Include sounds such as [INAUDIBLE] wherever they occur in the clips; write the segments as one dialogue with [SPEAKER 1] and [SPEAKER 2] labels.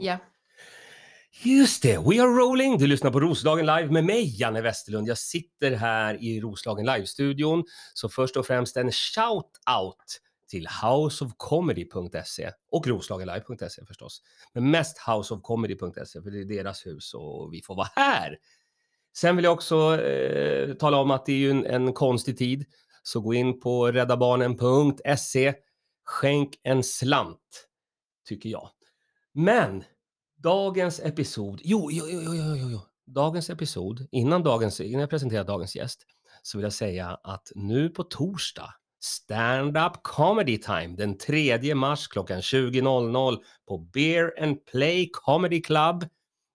[SPEAKER 1] Ja.
[SPEAKER 2] Just det, We Are Rolling. Du lyssnar på Roslagen Live med mig, Janne Westerlund. Jag sitter här i Roslagen Live-studion. Så först och främst en shout-out till houseofcomedy.se och roslagenlive.se förstås. Men mest houseofcomedy.se för det är deras hus och vi får vara här. Sen vill jag också eh, tala om att det är ju en, en konstig tid. Så gå in på räddabarnen.se. Skänk en slant, tycker jag. Men dagens episod, jo, jo, jo, jo, jo, jo, jo. dagens episod, innan, dagens, innan jag presenterar dagens gäst, så vill jag säga att nu på torsdag, stand-up comedy time den 3 mars klockan 20.00 på Beer and Play Comedy Club.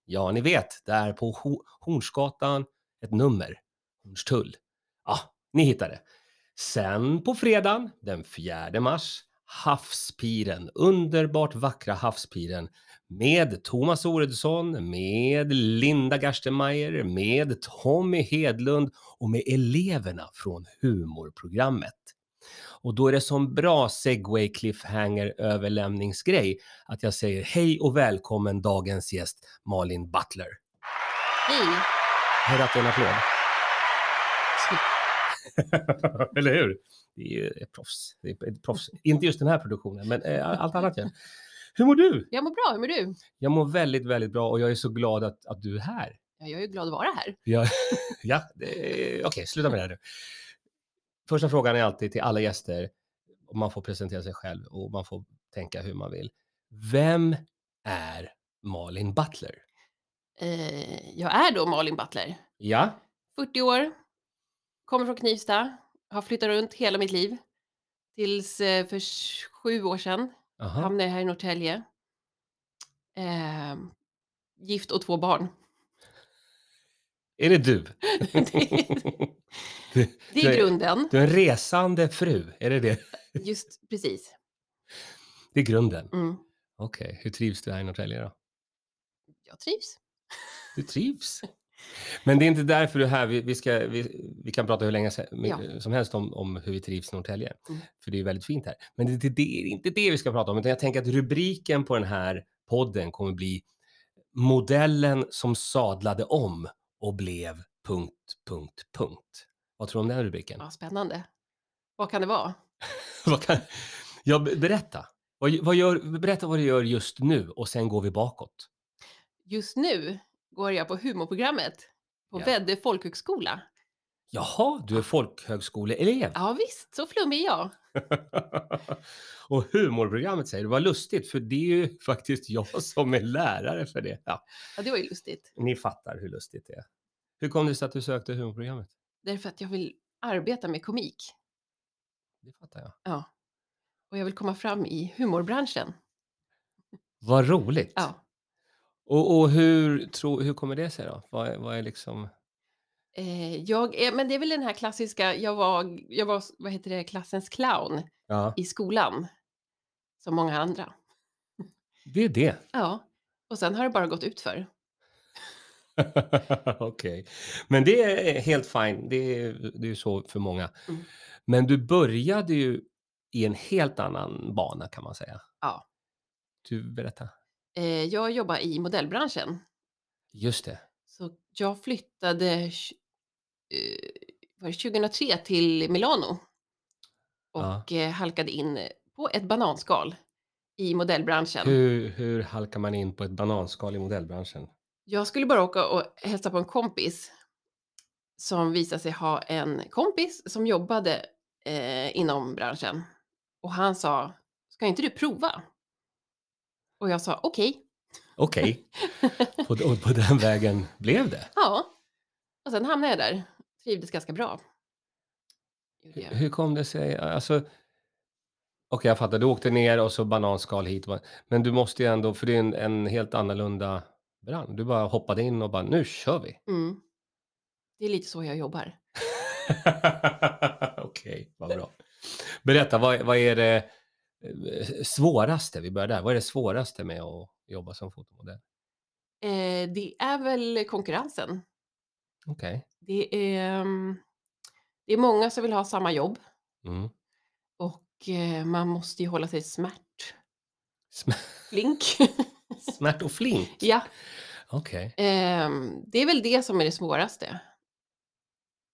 [SPEAKER 2] Ja, ni vet, där på Ho- Hornsgatan, ett nummer, Hornstull. Ja, ni hittar det. Sen på fredagen den 4 mars, Havspiren, underbart vackra Havspiren med Thomas Oredsson, med Linda Gerstenmeier, med Tommy Hedlund och med eleverna från humorprogrammet. Och då är det som bra segway cliffhanger överlämningsgrej att jag säger hej och välkommen dagens gäst Malin Butler.
[SPEAKER 1] Hej.
[SPEAKER 2] Hör att det är en applåd. Eller hur? Det är ju ett proffs. Det är ett proffs. Inte just den här produktionen, men eh, allt annat. Ja. Hur mår du?
[SPEAKER 1] Jag mår bra, hur mår du?
[SPEAKER 2] Jag mår väldigt, väldigt bra och jag är så glad att, att du är här.
[SPEAKER 1] Ja, jag är ju glad att vara här.
[SPEAKER 2] Ja, ja det- okej, sluta med det här nu. Första frågan är alltid till alla gäster, och man får presentera sig själv och man får tänka hur man vill. Vem är Malin Butler?
[SPEAKER 1] Eh, jag är då Malin Butler,
[SPEAKER 2] Ja,
[SPEAKER 1] 40 år, kommer från Knivsta, har flyttat runt hela mitt liv. Tills eh, för s- sju år sedan
[SPEAKER 2] aha.
[SPEAKER 1] hamnade jag här i Norrtälje. Eh, gift och två barn.
[SPEAKER 2] är [LAUGHS] det du?
[SPEAKER 1] Det
[SPEAKER 2] Du
[SPEAKER 1] är grunden.
[SPEAKER 2] Du är en resande fru, är det det?
[SPEAKER 1] Just precis.
[SPEAKER 2] Det är grunden.
[SPEAKER 1] Mm.
[SPEAKER 2] Okej, hur trivs du här i Norrtälje då?
[SPEAKER 1] Jag trivs.
[SPEAKER 2] Du trivs. [LAUGHS] Men det är inte därför du är här. Vi, vi, ska, vi, vi kan prata hur länge se- med- som helst om, om hur vi trivs i Norrtälje.
[SPEAKER 1] Mm.
[SPEAKER 2] För det är ju väldigt fint här. Men det, det, det är inte det vi ska prata om. Utan jag tänker att rubriken på den här podden kommer bli Modellen som sadlade om och blev... punkt, punkt, punkt. Vad tror du om den rubriken?
[SPEAKER 1] Ja, spännande. Vad kan det vara?
[SPEAKER 2] [LAUGHS] Vad kan, ja, be- berätta. Vad, vad gör, berätta vad du gör just nu och sen går vi bakåt.
[SPEAKER 1] Just nu går jag på humorprogrammet på
[SPEAKER 2] Ja.
[SPEAKER 1] Väddö folkhögskola.
[SPEAKER 2] Jaha, du är folkhögskoleelev.
[SPEAKER 1] Ja visst, så flummig är jag.
[SPEAKER 2] [LAUGHS] och humorprogrammet säger du, vad lustigt för det är ju [LAUGHS] faktiskt jag som är lärare för det. Ja,
[SPEAKER 1] Ja, det var ju lustigt.
[SPEAKER 2] ni fattar hur lustigt det är. Hur kom det sig att du sökte humorprogrammet?
[SPEAKER 1] Därför att jag vill arbeta med komik
[SPEAKER 2] Det fattar jag.
[SPEAKER 1] och jag vill komma fram i humorbranschen.
[SPEAKER 2] Vad roligt.
[SPEAKER 1] Ja.
[SPEAKER 2] Och, och hur, tro, hur kommer det sig då? Vad, är- vad är liksom...
[SPEAKER 1] Eh, jag är, men det är väl den här klassiska, jag var, jag var vad heter det, klassens clown
[SPEAKER 2] Ja,
[SPEAKER 1] i skolan. Som många andra.
[SPEAKER 2] det är det. [LAUGHS]
[SPEAKER 1] Ja. Och sen har det bara gått ut för.
[SPEAKER 2] Okej. Men det är helt fine. Det är det är ju så för många.
[SPEAKER 1] Mm.
[SPEAKER 2] Men du började ju i en helt annan bana kan man säga.
[SPEAKER 1] Ja.
[SPEAKER 2] Du, berätta.
[SPEAKER 1] Eh, jag jobbar i modellbranschen.
[SPEAKER 2] Just det.
[SPEAKER 1] Så jag flyttade tj- eh, var det 2003 till Milano
[SPEAKER 2] Ja.
[SPEAKER 1] och eh, halkade in på ett bananskal i modellbranschen.
[SPEAKER 2] Hur, hur halkar man in på ett bananskal i modellbranschen?
[SPEAKER 1] Jag skulle bara åka och hälsa på en kompis som visade sig ha en kompis som jobbade eh, inom branschen. Och han sa, ska inte du prova? Och jag sa, okej,
[SPEAKER 2] Okej. [LAUGHS] på, d- och på den vägen blev det.
[SPEAKER 1] ja. Och sen hamnade jag där, trivdes ganska bra. Gjorde jag.
[SPEAKER 2] Hur kom det sig? Alltså, Okej, jag fattar. Du åkte ner och så bananskal hit. och- Men du måste ju ändå, för det är en, en helt annorlunda bransch. Du bara hoppade in och bara, nu kör vi.
[SPEAKER 1] Mm. Det är lite så jag jobbar.
[SPEAKER 2] [LAUGHS] Okej, vad bra. Berätta, vad, vad är det eh, svåraste? Vi börjar där. Vad är det svåraste med att jobba som fotomodell?
[SPEAKER 1] Eh, det är väl konkurrensen.
[SPEAKER 2] Okej.
[SPEAKER 1] Det är, ehm, det är många som vill ha samma jobb
[SPEAKER 2] Mm.
[SPEAKER 1] och eh, man måste ju hålla sig smärt.
[SPEAKER 2] Sm-
[SPEAKER 1] Flink.
[SPEAKER 2] Smärt och flint?
[SPEAKER 1] Ja,
[SPEAKER 2] Okej.
[SPEAKER 1] ehm, det är väl det som är det svåraste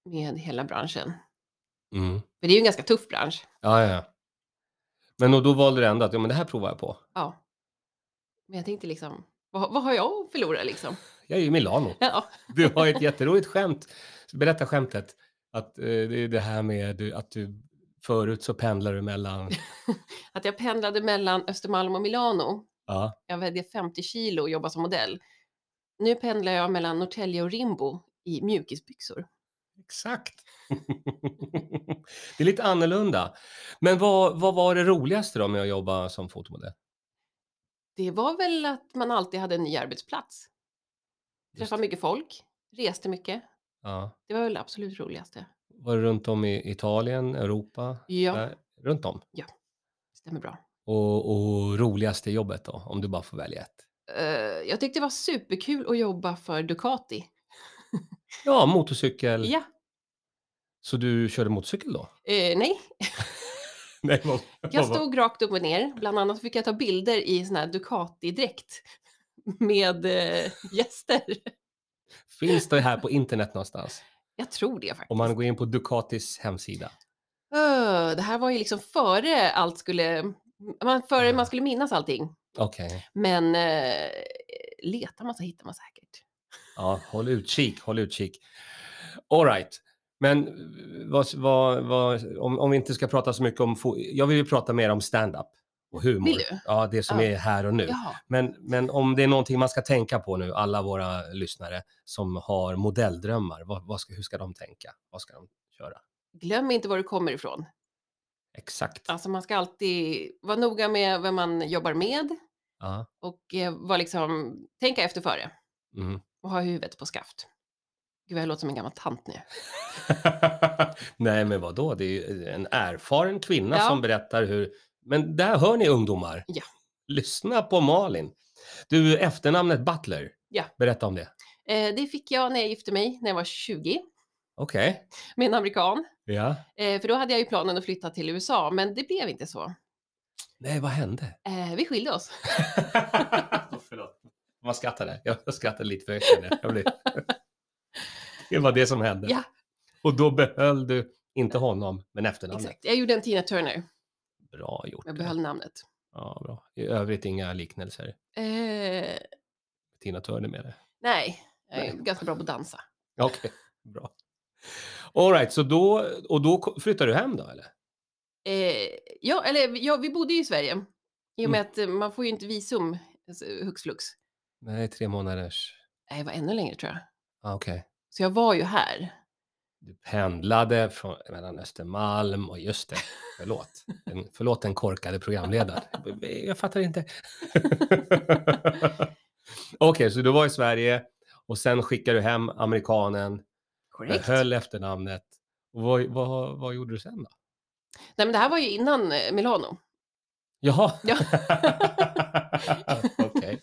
[SPEAKER 1] med hela branschen.
[SPEAKER 2] Mm.
[SPEAKER 1] För det är ju en ganska tuff bransch.
[SPEAKER 2] Ja, ja, ja. Men och då valde du ändå att ja, men det här provar jag på.
[SPEAKER 1] Ja. Men jag tänkte liksom, vad, vad har jag att förlora liksom? [LAUGHS]
[SPEAKER 2] Jag är i Milano.
[SPEAKER 1] Ja,
[SPEAKER 2] Du har ett jätteroligt skämt. Berätta skämtet. Att eh, det är det här med du- att du förut så pendlar du
[SPEAKER 1] [LAUGHS]
[SPEAKER 2] mellan...
[SPEAKER 1] att jag pendlade mellan Östermalm och Milano.
[SPEAKER 2] Ja,
[SPEAKER 1] Jag vägde 50 kilo och jobbade som modell. Nu pendlar jag mellan Norrtälje och Rimbo i mjukisbyxor.
[SPEAKER 2] exakt. [LAUGHS] det är lite annorlunda. Men vad, vad var det roligaste då med att jobba som fotomodell?
[SPEAKER 1] Det var väl att man alltid hade en ny arbetsplats. Träffade mycket folk, reste mycket.
[SPEAKER 2] Ja.
[SPEAKER 1] Det var väl det absolut roligaste.
[SPEAKER 2] Var det runt om i Italien, Europa?
[SPEAKER 1] Ja,
[SPEAKER 2] Där, runt om.
[SPEAKER 1] stämmer bra.
[SPEAKER 2] Och, och roligaste jobbet då, om du bara får välja ett?
[SPEAKER 1] Eh, jag tyckte det var superkul att jobba för Ducati.
[SPEAKER 2] Ja, motorcykel.
[SPEAKER 1] Ja,
[SPEAKER 2] Så du körde motorcykel då? [LAUGHS]
[SPEAKER 1] eh, nej,
[SPEAKER 2] Nej, vad,
[SPEAKER 1] jag stod rakt upp och ner. Bland annat fick jag ta bilder i sån här Ducati-dräkt [LAUGHS] med eh, gäster.
[SPEAKER 2] Finns det här på internet någonstans?
[SPEAKER 1] Jag tror det faktiskt.
[SPEAKER 2] Om man går in på Ducatis hemsida.
[SPEAKER 1] Öh, det här var ju liksom före allt skulle, man, före
[SPEAKER 2] Ja.
[SPEAKER 1] man skulle minnas allting.
[SPEAKER 2] Okej,
[SPEAKER 1] Men eh, letar man så hittar man säkert.
[SPEAKER 2] ja, håll utkik, håll utkik. All right. Men eh, vad, vad, vad, om, om vi inte ska prata så mycket om... fo- Jag vill ju prata mer om stand-up och humor.
[SPEAKER 1] Vill du?
[SPEAKER 2] Ja, det som
[SPEAKER 1] Ja.
[SPEAKER 2] är här och nu.
[SPEAKER 1] Ja,
[SPEAKER 2] Men, men om det är någonting man ska tänka på nu, alla våra lyssnare som har modelldrömmar, vad, vad ska, hur ska de tänka? Vad ska de köra?
[SPEAKER 1] glöm inte var du kommer ifrån.
[SPEAKER 2] Exakt.
[SPEAKER 1] Alltså man ska alltid vara noga med vem man jobbar med
[SPEAKER 2] Ja.
[SPEAKER 1] och eh, vara liksom, tänka efter före
[SPEAKER 2] Mm.
[SPEAKER 1] och ha huvudet på skaft. Gud, vad jag låter som en gammal tant nu.
[SPEAKER 2] [LAUGHS] Nej, men vad då? Det är ju en erfaren kvinna
[SPEAKER 1] Ja.
[SPEAKER 2] som berättar hur... Men där hör ni ungdomar.
[SPEAKER 1] Ja.
[SPEAKER 2] Lyssna på Malin. Du, efternamnet Butler.
[SPEAKER 1] Ja.
[SPEAKER 2] Berätta om det.
[SPEAKER 1] Eh, det fick jag när jag gifte mig när jag var 20
[SPEAKER 2] Okej.
[SPEAKER 1] med en amerikan.
[SPEAKER 2] Ja.
[SPEAKER 1] Eh, för då hade jag ju planen att flytta till USA, men det blev inte så.
[SPEAKER 2] Nej, vad
[SPEAKER 1] [LAUGHS]
[SPEAKER 2] hände?
[SPEAKER 1] Eh, vi skilde oss.
[SPEAKER 2] Förlåt. Man skrattar där. Jag skrattar lite för högt. där. Jag blir... [LAUGHS] Det var det som hände.
[SPEAKER 1] Ja.
[SPEAKER 2] Och då behöll du, inte honom, men efternamnet.
[SPEAKER 1] Exakt. Jag gjorde en Tina Turner.
[SPEAKER 2] Bra gjort.
[SPEAKER 1] Jag behöll namnet.
[SPEAKER 2] Ja, bra. I övrigt inga liknelser.
[SPEAKER 1] Eh,
[SPEAKER 2] Tina Turner med det.
[SPEAKER 1] nej, jag är
[SPEAKER 2] Nej.
[SPEAKER 1] ganska bra på att dansa.
[SPEAKER 2] [LAUGHS] Okej, bra. All right, så då, och då ko- flyttar du hem då eller?
[SPEAKER 1] Eh, ja, eller ja, vi bodde ju i Sverige.
[SPEAKER 2] Mm.
[SPEAKER 1] I och med att eh, man får ju inte visum alltså, hux flux.
[SPEAKER 2] Nej, tre månaders.
[SPEAKER 1] Nej, det var ännu längre tror jag.
[SPEAKER 2] Ah, Okej.
[SPEAKER 1] Så jag var ju här.
[SPEAKER 2] Du pendlade från, mellan Östermalm och just det, förlåt. Den, förlåt den korkade programledaren. [LAUGHS] Jag fattar inte. [LAUGHS] Okej, så du var i Sverige och sen skickade du hem amerikanen,
[SPEAKER 1] Korrekt.
[SPEAKER 2] höll efternamnet. Och vad, vad, vad gjorde du sen då?
[SPEAKER 1] Nej, men det här var ju innan eh, Milano.
[SPEAKER 2] Jaha. [LAUGHS]
[SPEAKER 1] Ja.
[SPEAKER 2] Okej.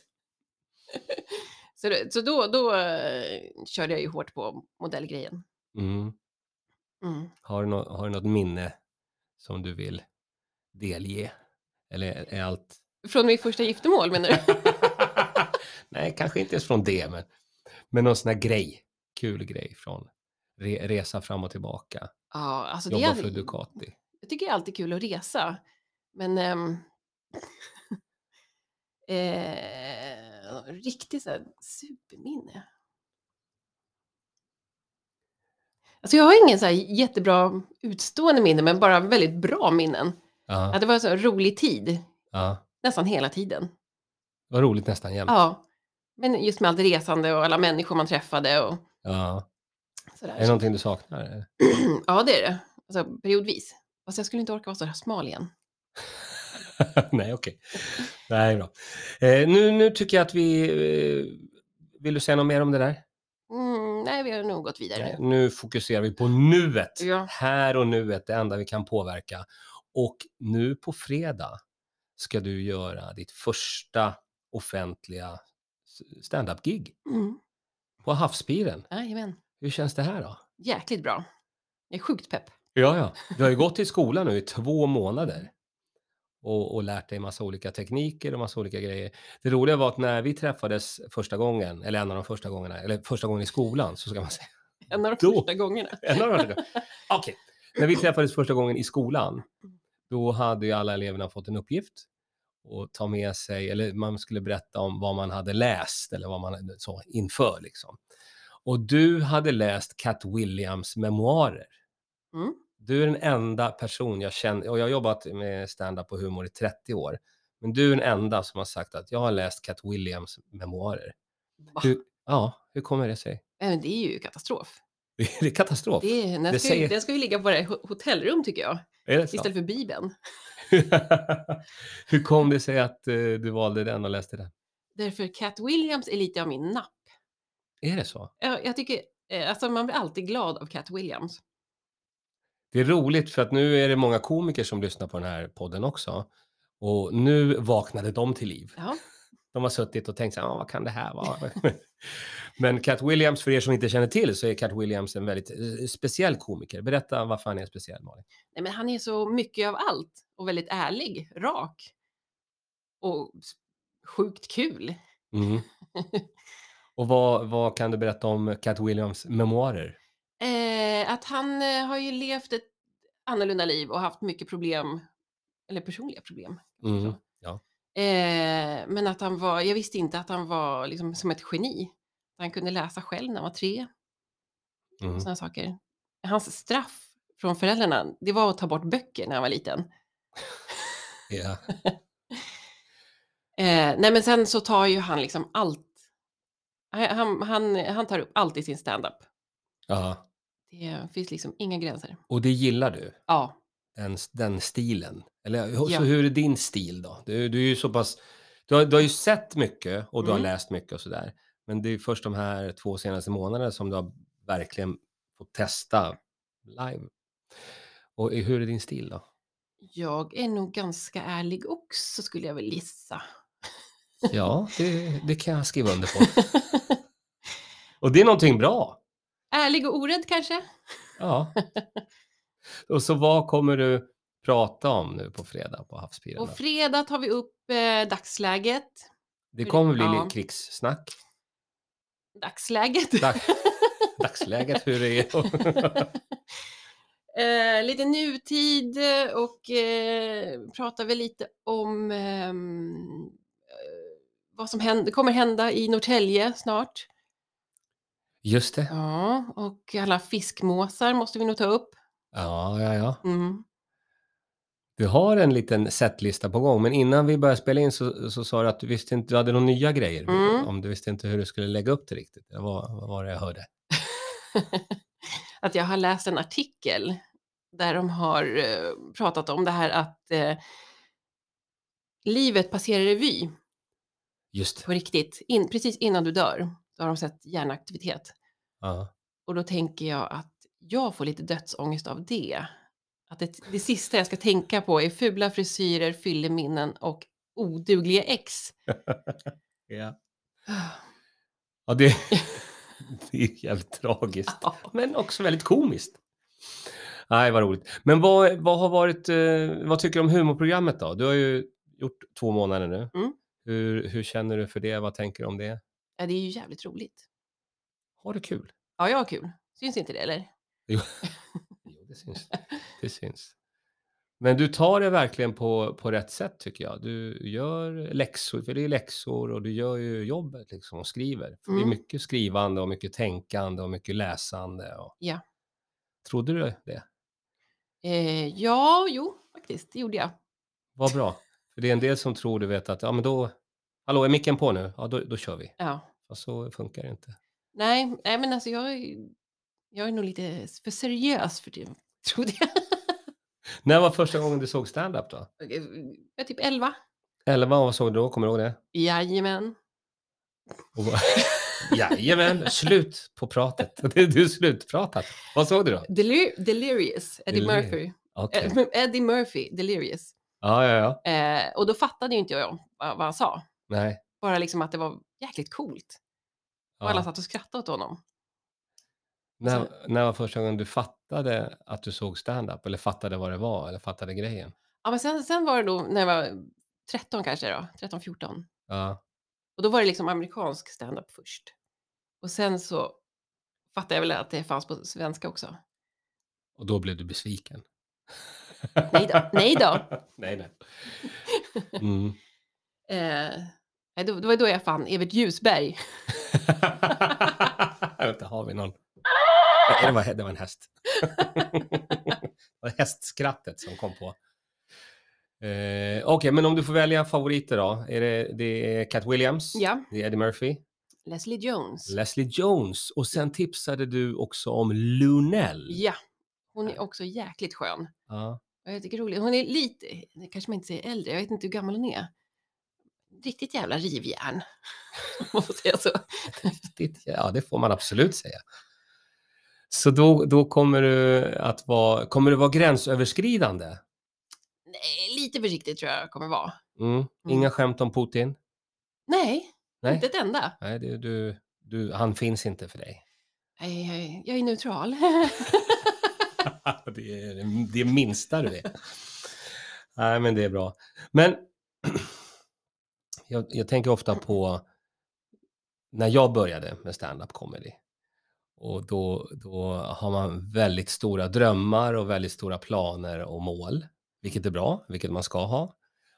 [SPEAKER 1] Så, det- så då, då eh, körde jag ju hårt på modellgrejen.
[SPEAKER 2] Mm.
[SPEAKER 1] Mm.
[SPEAKER 2] Har du, nå- har du något minne som du vill delge? Eller är- är allt...
[SPEAKER 1] Från mitt första giftermål menar du?
[SPEAKER 2] [LAUGHS] Nej, kanske inte ens från det, men, men någon sån här grej. Kul grej från re, resa fram och tillbaka,
[SPEAKER 1] Ja, alltså det
[SPEAKER 2] jobba
[SPEAKER 1] är,
[SPEAKER 2] för Ducati.
[SPEAKER 1] jag tycker det är alltid kul att resa. Men... ehm, [LAUGHS] eh, riktigt så här superminne. Alltså jag har ingen så här jättebra utstående minne, men bara väldigt bra minnen.
[SPEAKER 2] Ja,
[SPEAKER 1] Att det var en så här rolig tid,
[SPEAKER 2] ja.
[SPEAKER 1] nästan hela tiden.
[SPEAKER 2] Det var roligt nästan jämt.
[SPEAKER 1] Ja. Men just med allt resande och alla människor man träffade och
[SPEAKER 2] Ja. Är det
[SPEAKER 1] sådär.
[SPEAKER 2] någonting du saknar? eller?
[SPEAKER 1] [CLEARS THROAT]
[SPEAKER 2] [LAUGHS]
[SPEAKER 1] Ja, det är det. Alltså periodvis. Fast jag skulle inte orka vara så här smal igen.
[SPEAKER 2] Nej, okej. Nej, bra. Eh, nu, nu tycker jag att vi... Eh, vill du säga något mer om det där?
[SPEAKER 1] Mm, nej, vi har nog gått vidare
[SPEAKER 2] Nej,
[SPEAKER 1] nu.
[SPEAKER 2] Nu fokuserar vi på nuet.
[SPEAKER 1] Ja.
[SPEAKER 2] Här och nuet, det enda vi kan påverka. Och nu på fredag ska du göra ditt första offentliga s- standup-gig
[SPEAKER 1] Mm.
[SPEAKER 2] på Havspiren.
[SPEAKER 1] Jajamän.
[SPEAKER 2] Hur känns det här då?
[SPEAKER 1] Jäkligt bra. Jag är sjukt pepp.
[SPEAKER 2] Ja, ja. Du har ju gått i skolan nu i två månader. och, och lärt dig massa olika tekniker och massa olika grejer. Det roliga var att när vi träffades första gången, eller en av de första gångerna, eller första gången i skolan, så ska man säga.
[SPEAKER 1] En av de
[SPEAKER 2] Då-
[SPEAKER 1] första gångerna.
[SPEAKER 2] En av de första gångerna. [LAUGHS] Okej, när vi träffades första gången i skolan, då hade ju alla eleverna fått en uppgift och ta med sig, eller man skulle berätta om vad man hade läst eller vad man så inför liksom. Och du hade läst Cat Williams memoarer.
[SPEAKER 1] Mm.
[SPEAKER 2] Du är den enda person jag känner, och jag har jobbat med stand-up och humor i 30 år, men du är den enda som har sagt att jag har läst Cat Williams memoarer.
[SPEAKER 1] Va?
[SPEAKER 2] Hur, ja, hur kommer det sig? [LAUGHS]
[SPEAKER 1] Nej, men Det är ju katastrof.
[SPEAKER 2] Det är katastrof.
[SPEAKER 1] Det, är- den,
[SPEAKER 2] Det
[SPEAKER 1] ska ju,
[SPEAKER 2] säger-
[SPEAKER 1] den ska ju ligga på våra ho- hotellrum tycker jag,
[SPEAKER 2] är det så?
[SPEAKER 1] istället för Bibeln.
[SPEAKER 2] Hur kom det sig att eh, du valde den och läste den?
[SPEAKER 1] Därför Cat Williams är lite av min napp.
[SPEAKER 2] Är det så?
[SPEAKER 1] Jag, jag tycker, eh, alltså man blir alltid glad av Cat Williams.
[SPEAKER 2] Det är roligt för att nu är det många komiker som lyssnar på den här podden också. Och nu vaknade de till liv.
[SPEAKER 1] Ja,
[SPEAKER 2] De har suttit och tänkt så här, "Ah, vad kan det här vara? [LAUGHS] Men Cat Williams, för er som inte känner till, så är Cat Williams en väldigt eh, speciell komiker. Berätta varför han är speciell, Malin.
[SPEAKER 1] Nej, men han är så mycket av allt och väldigt ärlig, rak och s- sjukt kul.
[SPEAKER 2] Mm. Och vad, vad kan du berätta om Cat Williams memoarer?
[SPEAKER 1] Eh, att han eh, har ju levt ett annorlunda liv och haft mycket problem, eller personliga problem.
[SPEAKER 2] Mm.
[SPEAKER 1] Så. Eh, men att han var, jag visste inte att han var liksom som ett geni. Han kunde läsa själv när han var tre,
[SPEAKER 2] Mm.
[SPEAKER 1] sådana saker. Hans straff från föräldrarna, det var att ta bort böcker när han var liten.
[SPEAKER 2] Ja.
[SPEAKER 1] Eh, nej men sen så tar ju han liksom allt. Han, han, han, han tar upp allt i sin standup.
[SPEAKER 2] ja.
[SPEAKER 1] Det finns liksom inga gränser.
[SPEAKER 2] Och det gillar du?
[SPEAKER 1] Ja,
[SPEAKER 2] den, den stilen. Eller hur-
[SPEAKER 1] Ja.
[SPEAKER 2] så hur är din stil då? Du, du är ju så pass... Du har, du har ju sett mycket och du har
[SPEAKER 1] Mm.
[SPEAKER 2] läst mycket och sådär. Men det är först de här två senaste månaderna som du har verkligen fått testa live. Och i- hur är din stil då?
[SPEAKER 1] jag är nog ganska ärlig också skulle jag väl gissa. [LAUGHS]
[SPEAKER 2] Ja, det, det kan jag skriva under på. Och det är någonting bra.
[SPEAKER 1] ärlig och orädd kanske? [LAUGHS]
[SPEAKER 2] Ja. Och så vad kommer du prata om nu på fredag på Havspiren?
[SPEAKER 1] Och fredag tar vi upp eh, dagsläget.
[SPEAKER 2] Det kommer bli
[SPEAKER 1] Ja.
[SPEAKER 2] lite krigssnack.
[SPEAKER 1] Dagsläget. [LAUGHS]
[SPEAKER 2] Dag, dagsläget, hur det är.
[SPEAKER 1] eh, lite nutid eh, och eh, pratar väl lite om ehm, eh, vad som händer, kommer hända i Norrtälje snart.
[SPEAKER 2] Just det.
[SPEAKER 1] Ja, och alla fiskmåsar måste vi nog ta upp.
[SPEAKER 2] Ja, ja, ja.
[SPEAKER 1] Mm.
[SPEAKER 2] Du har en liten setlista på gång, men innan vi började spela in så, så sa du att du visste inte, du hade några nya grejer.
[SPEAKER 1] Mm.
[SPEAKER 2] Om du visste inte hur du skulle lägga upp det riktigt. Det var, vad var det jag hörde?
[SPEAKER 1] att jag har läst en artikel där de har eh, pratat om det här att eh, livet passerar revy
[SPEAKER 2] Just det.
[SPEAKER 1] på riktigt. In, precis innan du dör så har de sett hjärnaktivitet.
[SPEAKER 2] Ja.
[SPEAKER 1] Och då tänker jag att jag får lite dödsångest av det. Att det, det sista jag ska tänka på är fula frisyrer, fylleminnen och odugliga ex.
[SPEAKER 2] Ja.
[SPEAKER 1] Ah.
[SPEAKER 2] ja
[SPEAKER 1] [LAUGHS]
[SPEAKER 2] det, det är jävligt tragiskt, men också väldigt komiskt. Nej, vad roligt. Men vad, vad har varit, eh, vad tycker du om humorprogrammet då? Du har ju gjort två månader nu.
[SPEAKER 1] Mm.
[SPEAKER 2] Hur, hur känner du för det? Vad tänker du om det?
[SPEAKER 1] Ja, det är ju jävligt roligt.
[SPEAKER 2] Har du kul?
[SPEAKER 1] Ja, jag har kul. Syns inte det eller?
[SPEAKER 2] Jo, det syns. [LAUGHS] Det syns. Men du tar det verkligen på, på rätt sätt tycker jag. Du gör läxor, för det är läxor och du gör ju jobbet liksom och skriver. För Det
[SPEAKER 1] Mm.
[SPEAKER 2] är mycket skrivande och mycket tänkande och mycket läsande. Och...
[SPEAKER 1] Ja.
[SPEAKER 2] Trodde du det?
[SPEAKER 1] Eh, ja, jo, faktiskt, det gjorde jag.
[SPEAKER 2] Vad bra. För det är en del som tror du vet att, ja men då, hallå är micken på nu? Ja, då, då kör vi.
[SPEAKER 1] Ja.
[SPEAKER 2] Och så funkar det inte.
[SPEAKER 1] Nej, nej, men alltså jag, är- jag är nog lite för seriös för det, [LAUGHS] trodde jag.
[SPEAKER 2] När var första gången du såg stand-up då?
[SPEAKER 1] Okej, Jag är typ 11.
[SPEAKER 2] 11, vad såg du då? Kommer du ihåg det?
[SPEAKER 1] Jajamän.
[SPEAKER 2] Och bara, [LAUGHS] Jajamän, slut på [LAUGHS] pratet. Du, du är slutpratat. Vad såg du då?
[SPEAKER 1] Delir- delirious, Eddie
[SPEAKER 2] Delir-
[SPEAKER 1] Murphy.
[SPEAKER 2] Okej.
[SPEAKER 1] Eh, Eddie Murphy, delirious.
[SPEAKER 2] Ja, ja, ja.
[SPEAKER 1] Eh, och då fattade ju inte jag vad, vad han sa.
[SPEAKER 2] Nej.
[SPEAKER 1] Bara liksom att det var jäkligt coolt. Och alla
[SPEAKER 2] Ja.
[SPEAKER 1] satt och skrattade åt honom.
[SPEAKER 2] När, när var första gången du fattade att du såg stand-up? Eller fattade vad det var? Eller fattade grejen?
[SPEAKER 1] Ja, men sen, sen var det då när jag var 13 kanske då, 13, 14.
[SPEAKER 2] Ja.
[SPEAKER 1] Och då var det liksom amerikansk stand-up först. Och sen så fattade jag väl att det fanns på svenska också.
[SPEAKER 2] Och då blev du besviken.
[SPEAKER 1] Nej då, nej då.
[SPEAKER 2] nej, nej. Mm.
[SPEAKER 1] Eh, nej, då- det var ju då jag fann Evert Ljusberg.
[SPEAKER 2] [LAUGHS] Vänta, har vi någon? Nej, Det var, det var en häst. [LAUGHS] det var hästskrattet som kom på. Eh, Okej, men om du får välja favoriter då? Är det, det är Cat Williams,
[SPEAKER 1] Ja,
[SPEAKER 2] det är Eddie Murphy,
[SPEAKER 1] Leslie Jones.
[SPEAKER 2] Leslie Jones och sen tipsade du också om Lunell.
[SPEAKER 1] Ja, hon är också jäkligt skön.
[SPEAKER 2] Ja.
[SPEAKER 1] Och Jag tycker det är roligt. Hon är lite, det kanske man inte säger äldre, jag vet inte hur gammal hon är. Riktigt jävla rivjärn. [LAUGHS] om man får säga så.
[SPEAKER 2] Riktigt, ja det får man absolut säga. Så då, då kommer du att vara, kommer det vara gränsöverskridande?
[SPEAKER 1] Nej, lite försiktig tror jag kommer vara.
[SPEAKER 2] Mm. Inga skämt om Putin?
[SPEAKER 1] Nej,
[SPEAKER 2] Nej.
[SPEAKER 1] inte ett enda.
[SPEAKER 2] Nej, det, du, du, han finns inte för dig.
[SPEAKER 1] Nej, jag är- jag är neutral.
[SPEAKER 2] [LAUGHS]
[SPEAKER 1] [LAUGHS]
[SPEAKER 2] det är det minsta du är. Nej, men det är bra. Men [CLEARS THROAT] jag, jag tänker ofta på när jag började med stand-up comedy. Och då, då har man väldigt stora drömmar och väldigt stora planer och mål, vilket är bra, vilket man ska ha.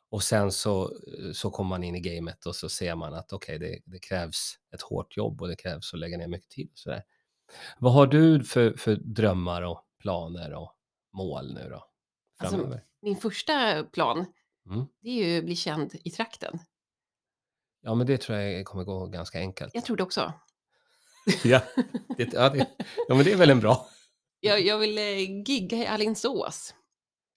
[SPEAKER 2] Och sen så, så kommer man in i gamet och så ser man att okej, det, det krävs ett hårt jobb och det krävs att lägga ner mycket tid. Och sådär. Vad har du för, för drömmar och planer och mål nu då?
[SPEAKER 1] Alltså,
[SPEAKER 2] Framöver?
[SPEAKER 1] Min första plan,
[SPEAKER 2] Mm.
[SPEAKER 1] det är ju att bli känd i trakten.
[SPEAKER 2] ja, men det tror jag kommer gå ganska enkelt.
[SPEAKER 1] Jag tror det också.
[SPEAKER 2] [LAUGHS] Ja, det, ja, det, ja men det är väl en bra.
[SPEAKER 1] Jag, jag vill eh, gigga i Alingsås.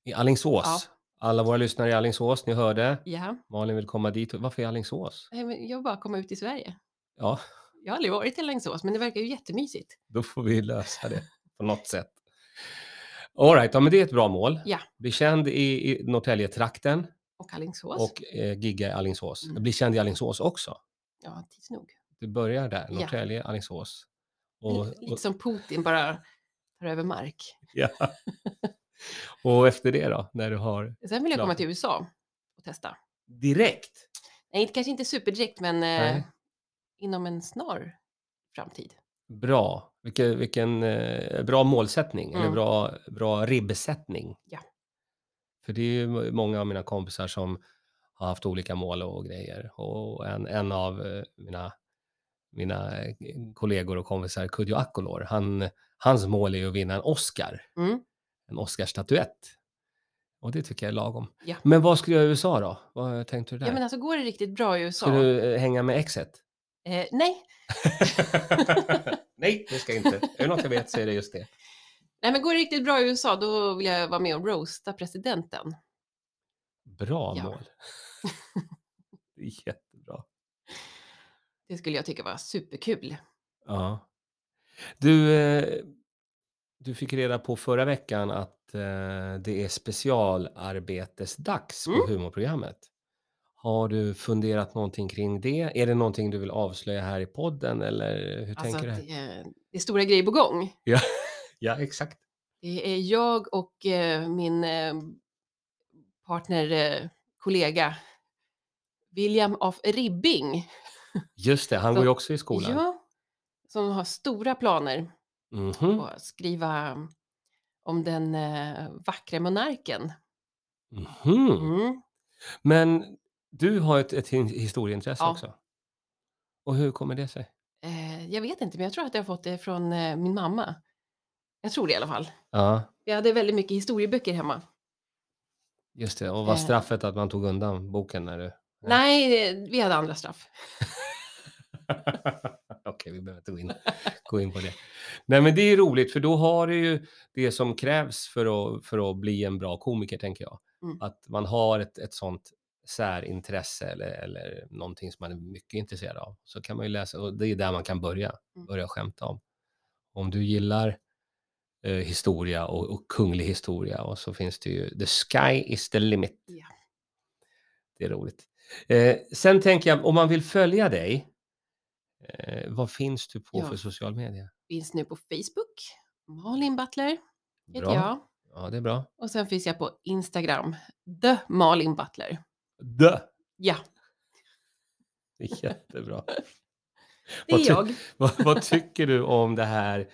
[SPEAKER 2] I Alingsås.
[SPEAKER 1] Ja.
[SPEAKER 2] Alla våra lyssnare i Alingsås, ni hörde.
[SPEAKER 1] Ja,
[SPEAKER 2] Malin vill komma dit. Varför är Alingsås?
[SPEAKER 1] Nej, men jag bara komma ut i Sverige.
[SPEAKER 2] Ja,
[SPEAKER 1] Jag har aldrig varit i Alingsås, men det verkar ju jättemysigt.
[SPEAKER 2] då får vi lösa det [LAUGHS] på något sätt. All right, ja, men det är ett bra mål.
[SPEAKER 1] Ja.
[SPEAKER 2] Bli känd i, i Norrtäljetrakten
[SPEAKER 1] Och Alingsås?
[SPEAKER 2] och eh, gigga i Alingsås.
[SPEAKER 1] Mm.
[SPEAKER 2] Bli känd i Alingsås också.
[SPEAKER 1] Ja, tids nog.
[SPEAKER 2] Du börjar där,
[SPEAKER 1] Ja.
[SPEAKER 2] Norrtälje, Alingsås. Och,
[SPEAKER 1] L- Lite som liksom Putin bara tar över mark.
[SPEAKER 2] ja. och efter det då, när du har
[SPEAKER 1] Sen vill jag komma
[SPEAKER 2] Klart.
[SPEAKER 1] till USA och testa.
[SPEAKER 2] direkt?
[SPEAKER 1] Nej, inte- kanske inte superdirekt, men eh,
[SPEAKER 2] Nej.
[SPEAKER 1] inom en snar framtid.
[SPEAKER 2] Bra. Vilken, vilken eh, bra målsättning, eller
[SPEAKER 1] Mm.
[SPEAKER 2] bra, bra ribbsättning.
[SPEAKER 1] Ja.
[SPEAKER 2] För det är ju må- många av mina kompisar som har haft olika mål och grejer. Och en, en av eh, mina, mina eh, kollegor och kompisar, Kodjo Akolor, han, hans mål är ju att vinna en Oscar,
[SPEAKER 1] Mm.
[SPEAKER 2] en Oscarsstatyett. Och det tycker jag är lagom.
[SPEAKER 1] Ja.
[SPEAKER 2] Men vad skulle du göra i USA då? Vad tänkte du där?
[SPEAKER 1] Ja, men alltså går det riktigt bra i USA?
[SPEAKER 2] Ska du eh, hänga med exet?
[SPEAKER 1] [LAUGHS] Eh, nej.
[SPEAKER 2] Nej, det ska jag inte. Är det något jag vet så är det just det.
[SPEAKER 1] nej, men går det riktigt bra i USA, då vill jag vara med och roasta presidenten. [LAUGHS]
[SPEAKER 2] Bra
[SPEAKER 1] Ja.
[SPEAKER 2] mål. Det är Jättebra.
[SPEAKER 1] Det skulle jag tycka var superkul.
[SPEAKER 2] Ja. Du, eh, du fick reda på förra veckan att eh, det är specialarbetesdags på
[SPEAKER 1] Mm.
[SPEAKER 2] humorprogrammet. Har du funderat någonting kring det? Är det någonting du vill avslöja här i podden eller hur
[SPEAKER 1] Alltså
[SPEAKER 2] tänker du?
[SPEAKER 1] att,
[SPEAKER 2] här?
[SPEAKER 1] eh, det är stora grejer på gång.
[SPEAKER 2] Ja. [LAUGHS] ja, exakt.
[SPEAKER 1] Det är jag och eh, min eh, partner, eh, kollega William af Ribbing.
[SPEAKER 2] Just det, han
[SPEAKER 1] Så-
[SPEAKER 2] går ju också i skolan.
[SPEAKER 1] Ja, som har stora planer
[SPEAKER 2] Mhm,
[SPEAKER 1] på att skriva om den eh, vackra monarken.
[SPEAKER 2] mhm.
[SPEAKER 1] Mm.
[SPEAKER 2] Men du har ett, ett hin- historieintresse
[SPEAKER 1] Ja.
[SPEAKER 2] också. Och hur kommer det sig?
[SPEAKER 1] Eh, jag vet inte, men jag tror att jag har fått det från eh, min mamma. Jag tror det i alla fall.
[SPEAKER 2] Ja,
[SPEAKER 1] Jag hade väldigt mycket historieböcker hemma.
[SPEAKER 2] just det. Och var
[SPEAKER 1] Eh.
[SPEAKER 2] straffet att man tog undan boken när du... Nej.
[SPEAKER 1] Nej, eh, vi hade andra straff.
[SPEAKER 2] Okej, vi behöver inte gå in, gå in på det. Nej, men det är roligt för då har du ju det som krävs för att, för att bli en bra komiker, tänker jag.
[SPEAKER 1] Mm.
[SPEAKER 2] Att man har ett, ett sånt särintresse eller, eller någonting som man är mycket intresserad av. Så kan man ju läsa, och det är där man kan börja,
[SPEAKER 1] Mm.
[SPEAKER 2] börja skämta om. Om du gillar eh, historia och, och kunglig historia och så finns det ju The Sky is the limit.
[SPEAKER 1] Ja.
[SPEAKER 2] Det är roligt. Eh, sen tänker jag, om man vill följa dig, eh, vad finns du på
[SPEAKER 1] Ja.
[SPEAKER 2] för social media?
[SPEAKER 1] Finns nu på Facebook. Malin Butler heter
[SPEAKER 2] Bra.
[SPEAKER 1] jag.
[SPEAKER 2] Ja, det är bra.
[SPEAKER 1] Och sen finns jag på Instagram, the Malin Butler.
[SPEAKER 2] Dö!
[SPEAKER 1] Ja,
[SPEAKER 2] Det är jättebra.
[SPEAKER 1] [LAUGHS] det är
[SPEAKER 2] Vad ty-
[SPEAKER 1] jag.
[SPEAKER 2] vad, vad tycker du om det här?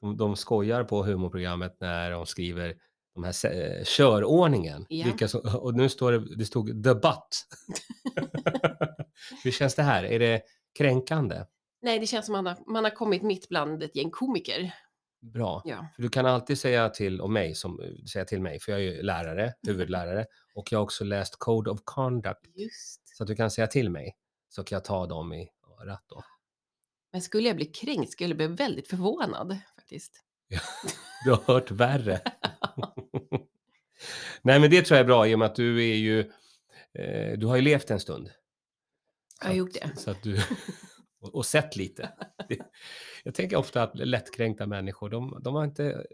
[SPEAKER 2] De, de skojar på humorprogrammet när de skriver de här se- eh, körordningen.
[SPEAKER 1] Ja.
[SPEAKER 2] Vilka som, och nu står det, det stod the
[SPEAKER 1] [LAUGHS]
[SPEAKER 2] butt. Hur känns det här? Är det kränkande?
[SPEAKER 1] Nej, det känns som att man har, man har kommit mitt bland ett gäng komiker.
[SPEAKER 2] Bra.
[SPEAKER 1] Ja.
[SPEAKER 2] För du kan alltid säga till om mig, som, säga till mig, för jag är ju lärare,
[SPEAKER 1] [LAUGHS]
[SPEAKER 2] huvudlärare, och jag har också läst Code of Conduct.
[SPEAKER 1] Just.
[SPEAKER 2] Så att du kan säga till mig, så kan jag ta dem i örat då.
[SPEAKER 1] Men skulle jag bli kränkt skulle jag bli väldigt förvånad faktiskt.
[SPEAKER 2] Du har hört värre. Nej, men det tror jag är bra i och med att du är ju... Eh, du har ju levt en stund.
[SPEAKER 1] Jag har gjort det.
[SPEAKER 2] Så att du, och, och sett lite. Det, jag tänker ofta att lättkränkta människor, de, de har inte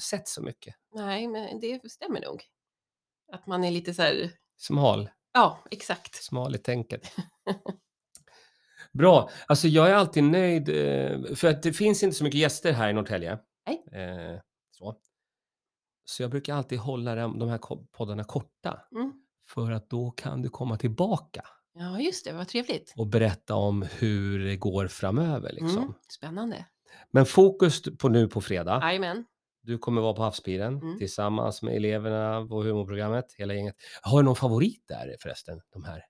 [SPEAKER 2] sett så mycket.
[SPEAKER 1] Nej, men det stämmer nog. Att man är lite så här,
[SPEAKER 2] Smal,
[SPEAKER 1] ja, exakt.
[SPEAKER 2] smal i tänket. [LAUGHS] Bra. Alltså jag är alltid nöjd, eh, för att det finns inte så mycket gäster här i Norrtälje.
[SPEAKER 1] Nej.
[SPEAKER 2] Eh, så. så jag brukar alltid hålla dem- de här ko- poddarna korta.
[SPEAKER 1] Mm.
[SPEAKER 2] För att då kan du komma tillbaka
[SPEAKER 1] Ja, just det, vad trevligt.
[SPEAKER 2] och berätta om hur det går framöver. Liksom.
[SPEAKER 1] Mm. Spännande.
[SPEAKER 2] Men fokus på nu på fredag.
[SPEAKER 1] Jajamän.
[SPEAKER 2] Du kommer vara på Havspiren
[SPEAKER 1] Mm.
[SPEAKER 2] tillsammans med eleverna på humorprogrammet, hela gänget. Har du någon favorit där förresten, de här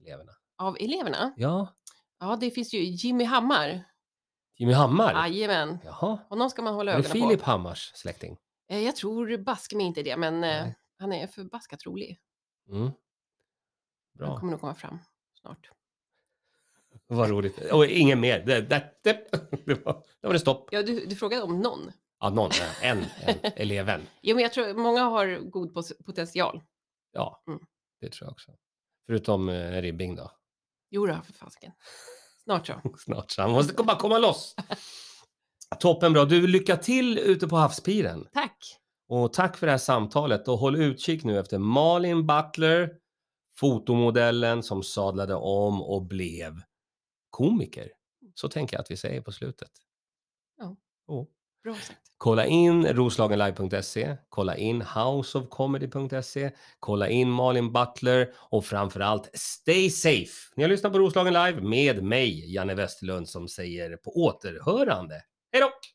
[SPEAKER 2] eleverna?
[SPEAKER 1] Av eleverna?
[SPEAKER 2] Ja,
[SPEAKER 1] Ja, det finns ju Jimmy Hammar.
[SPEAKER 2] Jimmy Hammar?
[SPEAKER 1] Jajamän.
[SPEAKER 2] Jaha,
[SPEAKER 1] Honom ska man hålla
[SPEAKER 2] är det
[SPEAKER 1] ögonen
[SPEAKER 2] Filip
[SPEAKER 1] på.
[SPEAKER 2] Hammars släkting?
[SPEAKER 1] Eh, Jag tror baske mig inte det, men eh,
[SPEAKER 2] Nej.
[SPEAKER 1] han är förbaskat rolig.
[SPEAKER 2] Mm.
[SPEAKER 1] Han
[SPEAKER 2] Bra,
[SPEAKER 1] kommer nog komma fram snart.
[SPEAKER 2] vad roligt. Och ingen mer. Det, det, det, [LAUGHS] det var, det var det stopp.
[SPEAKER 1] Ja, du, du frågade om någon.
[SPEAKER 2] Ja, någon, en, en, eleven.
[SPEAKER 1] Jo, men jag tror många har god pos- potential.
[SPEAKER 2] Ja,
[SPEAKER 1] Mm.
[SPEAKER 2] det tror jag också. Förutom eh, Ribbing då. [LAUGHS]
[SPEAKER 1] Jo då, för fasiken. Snart [LAUGHS] så.
[SPEAKER 2] Snart så han måste bara komma loss. Toppen bra. Du, lycka till ute på havspiren.
[SPEAKER 1] Tack!
[SPEAKER 2] Och tack för det här samtalet. Och håll utkik nu efter Malin Butler, fotomodellen som sadlade om och blev komiker. Så tänker jag att vi säger på slutet.
[SPEAKER 1] Ja.
[SPEAKER 2] Oh.
[SPEAKER 1] Bra sagt.
[SPEAKER 2] Kolla in roslagenlive.se, kolla in houseofcomedy.se, kolla in Malin Butler och framförallt stay safe. Ni har lyssnat på Roslagen Live med mig, Janne Westerlund, som säger på återhörande. Hej då!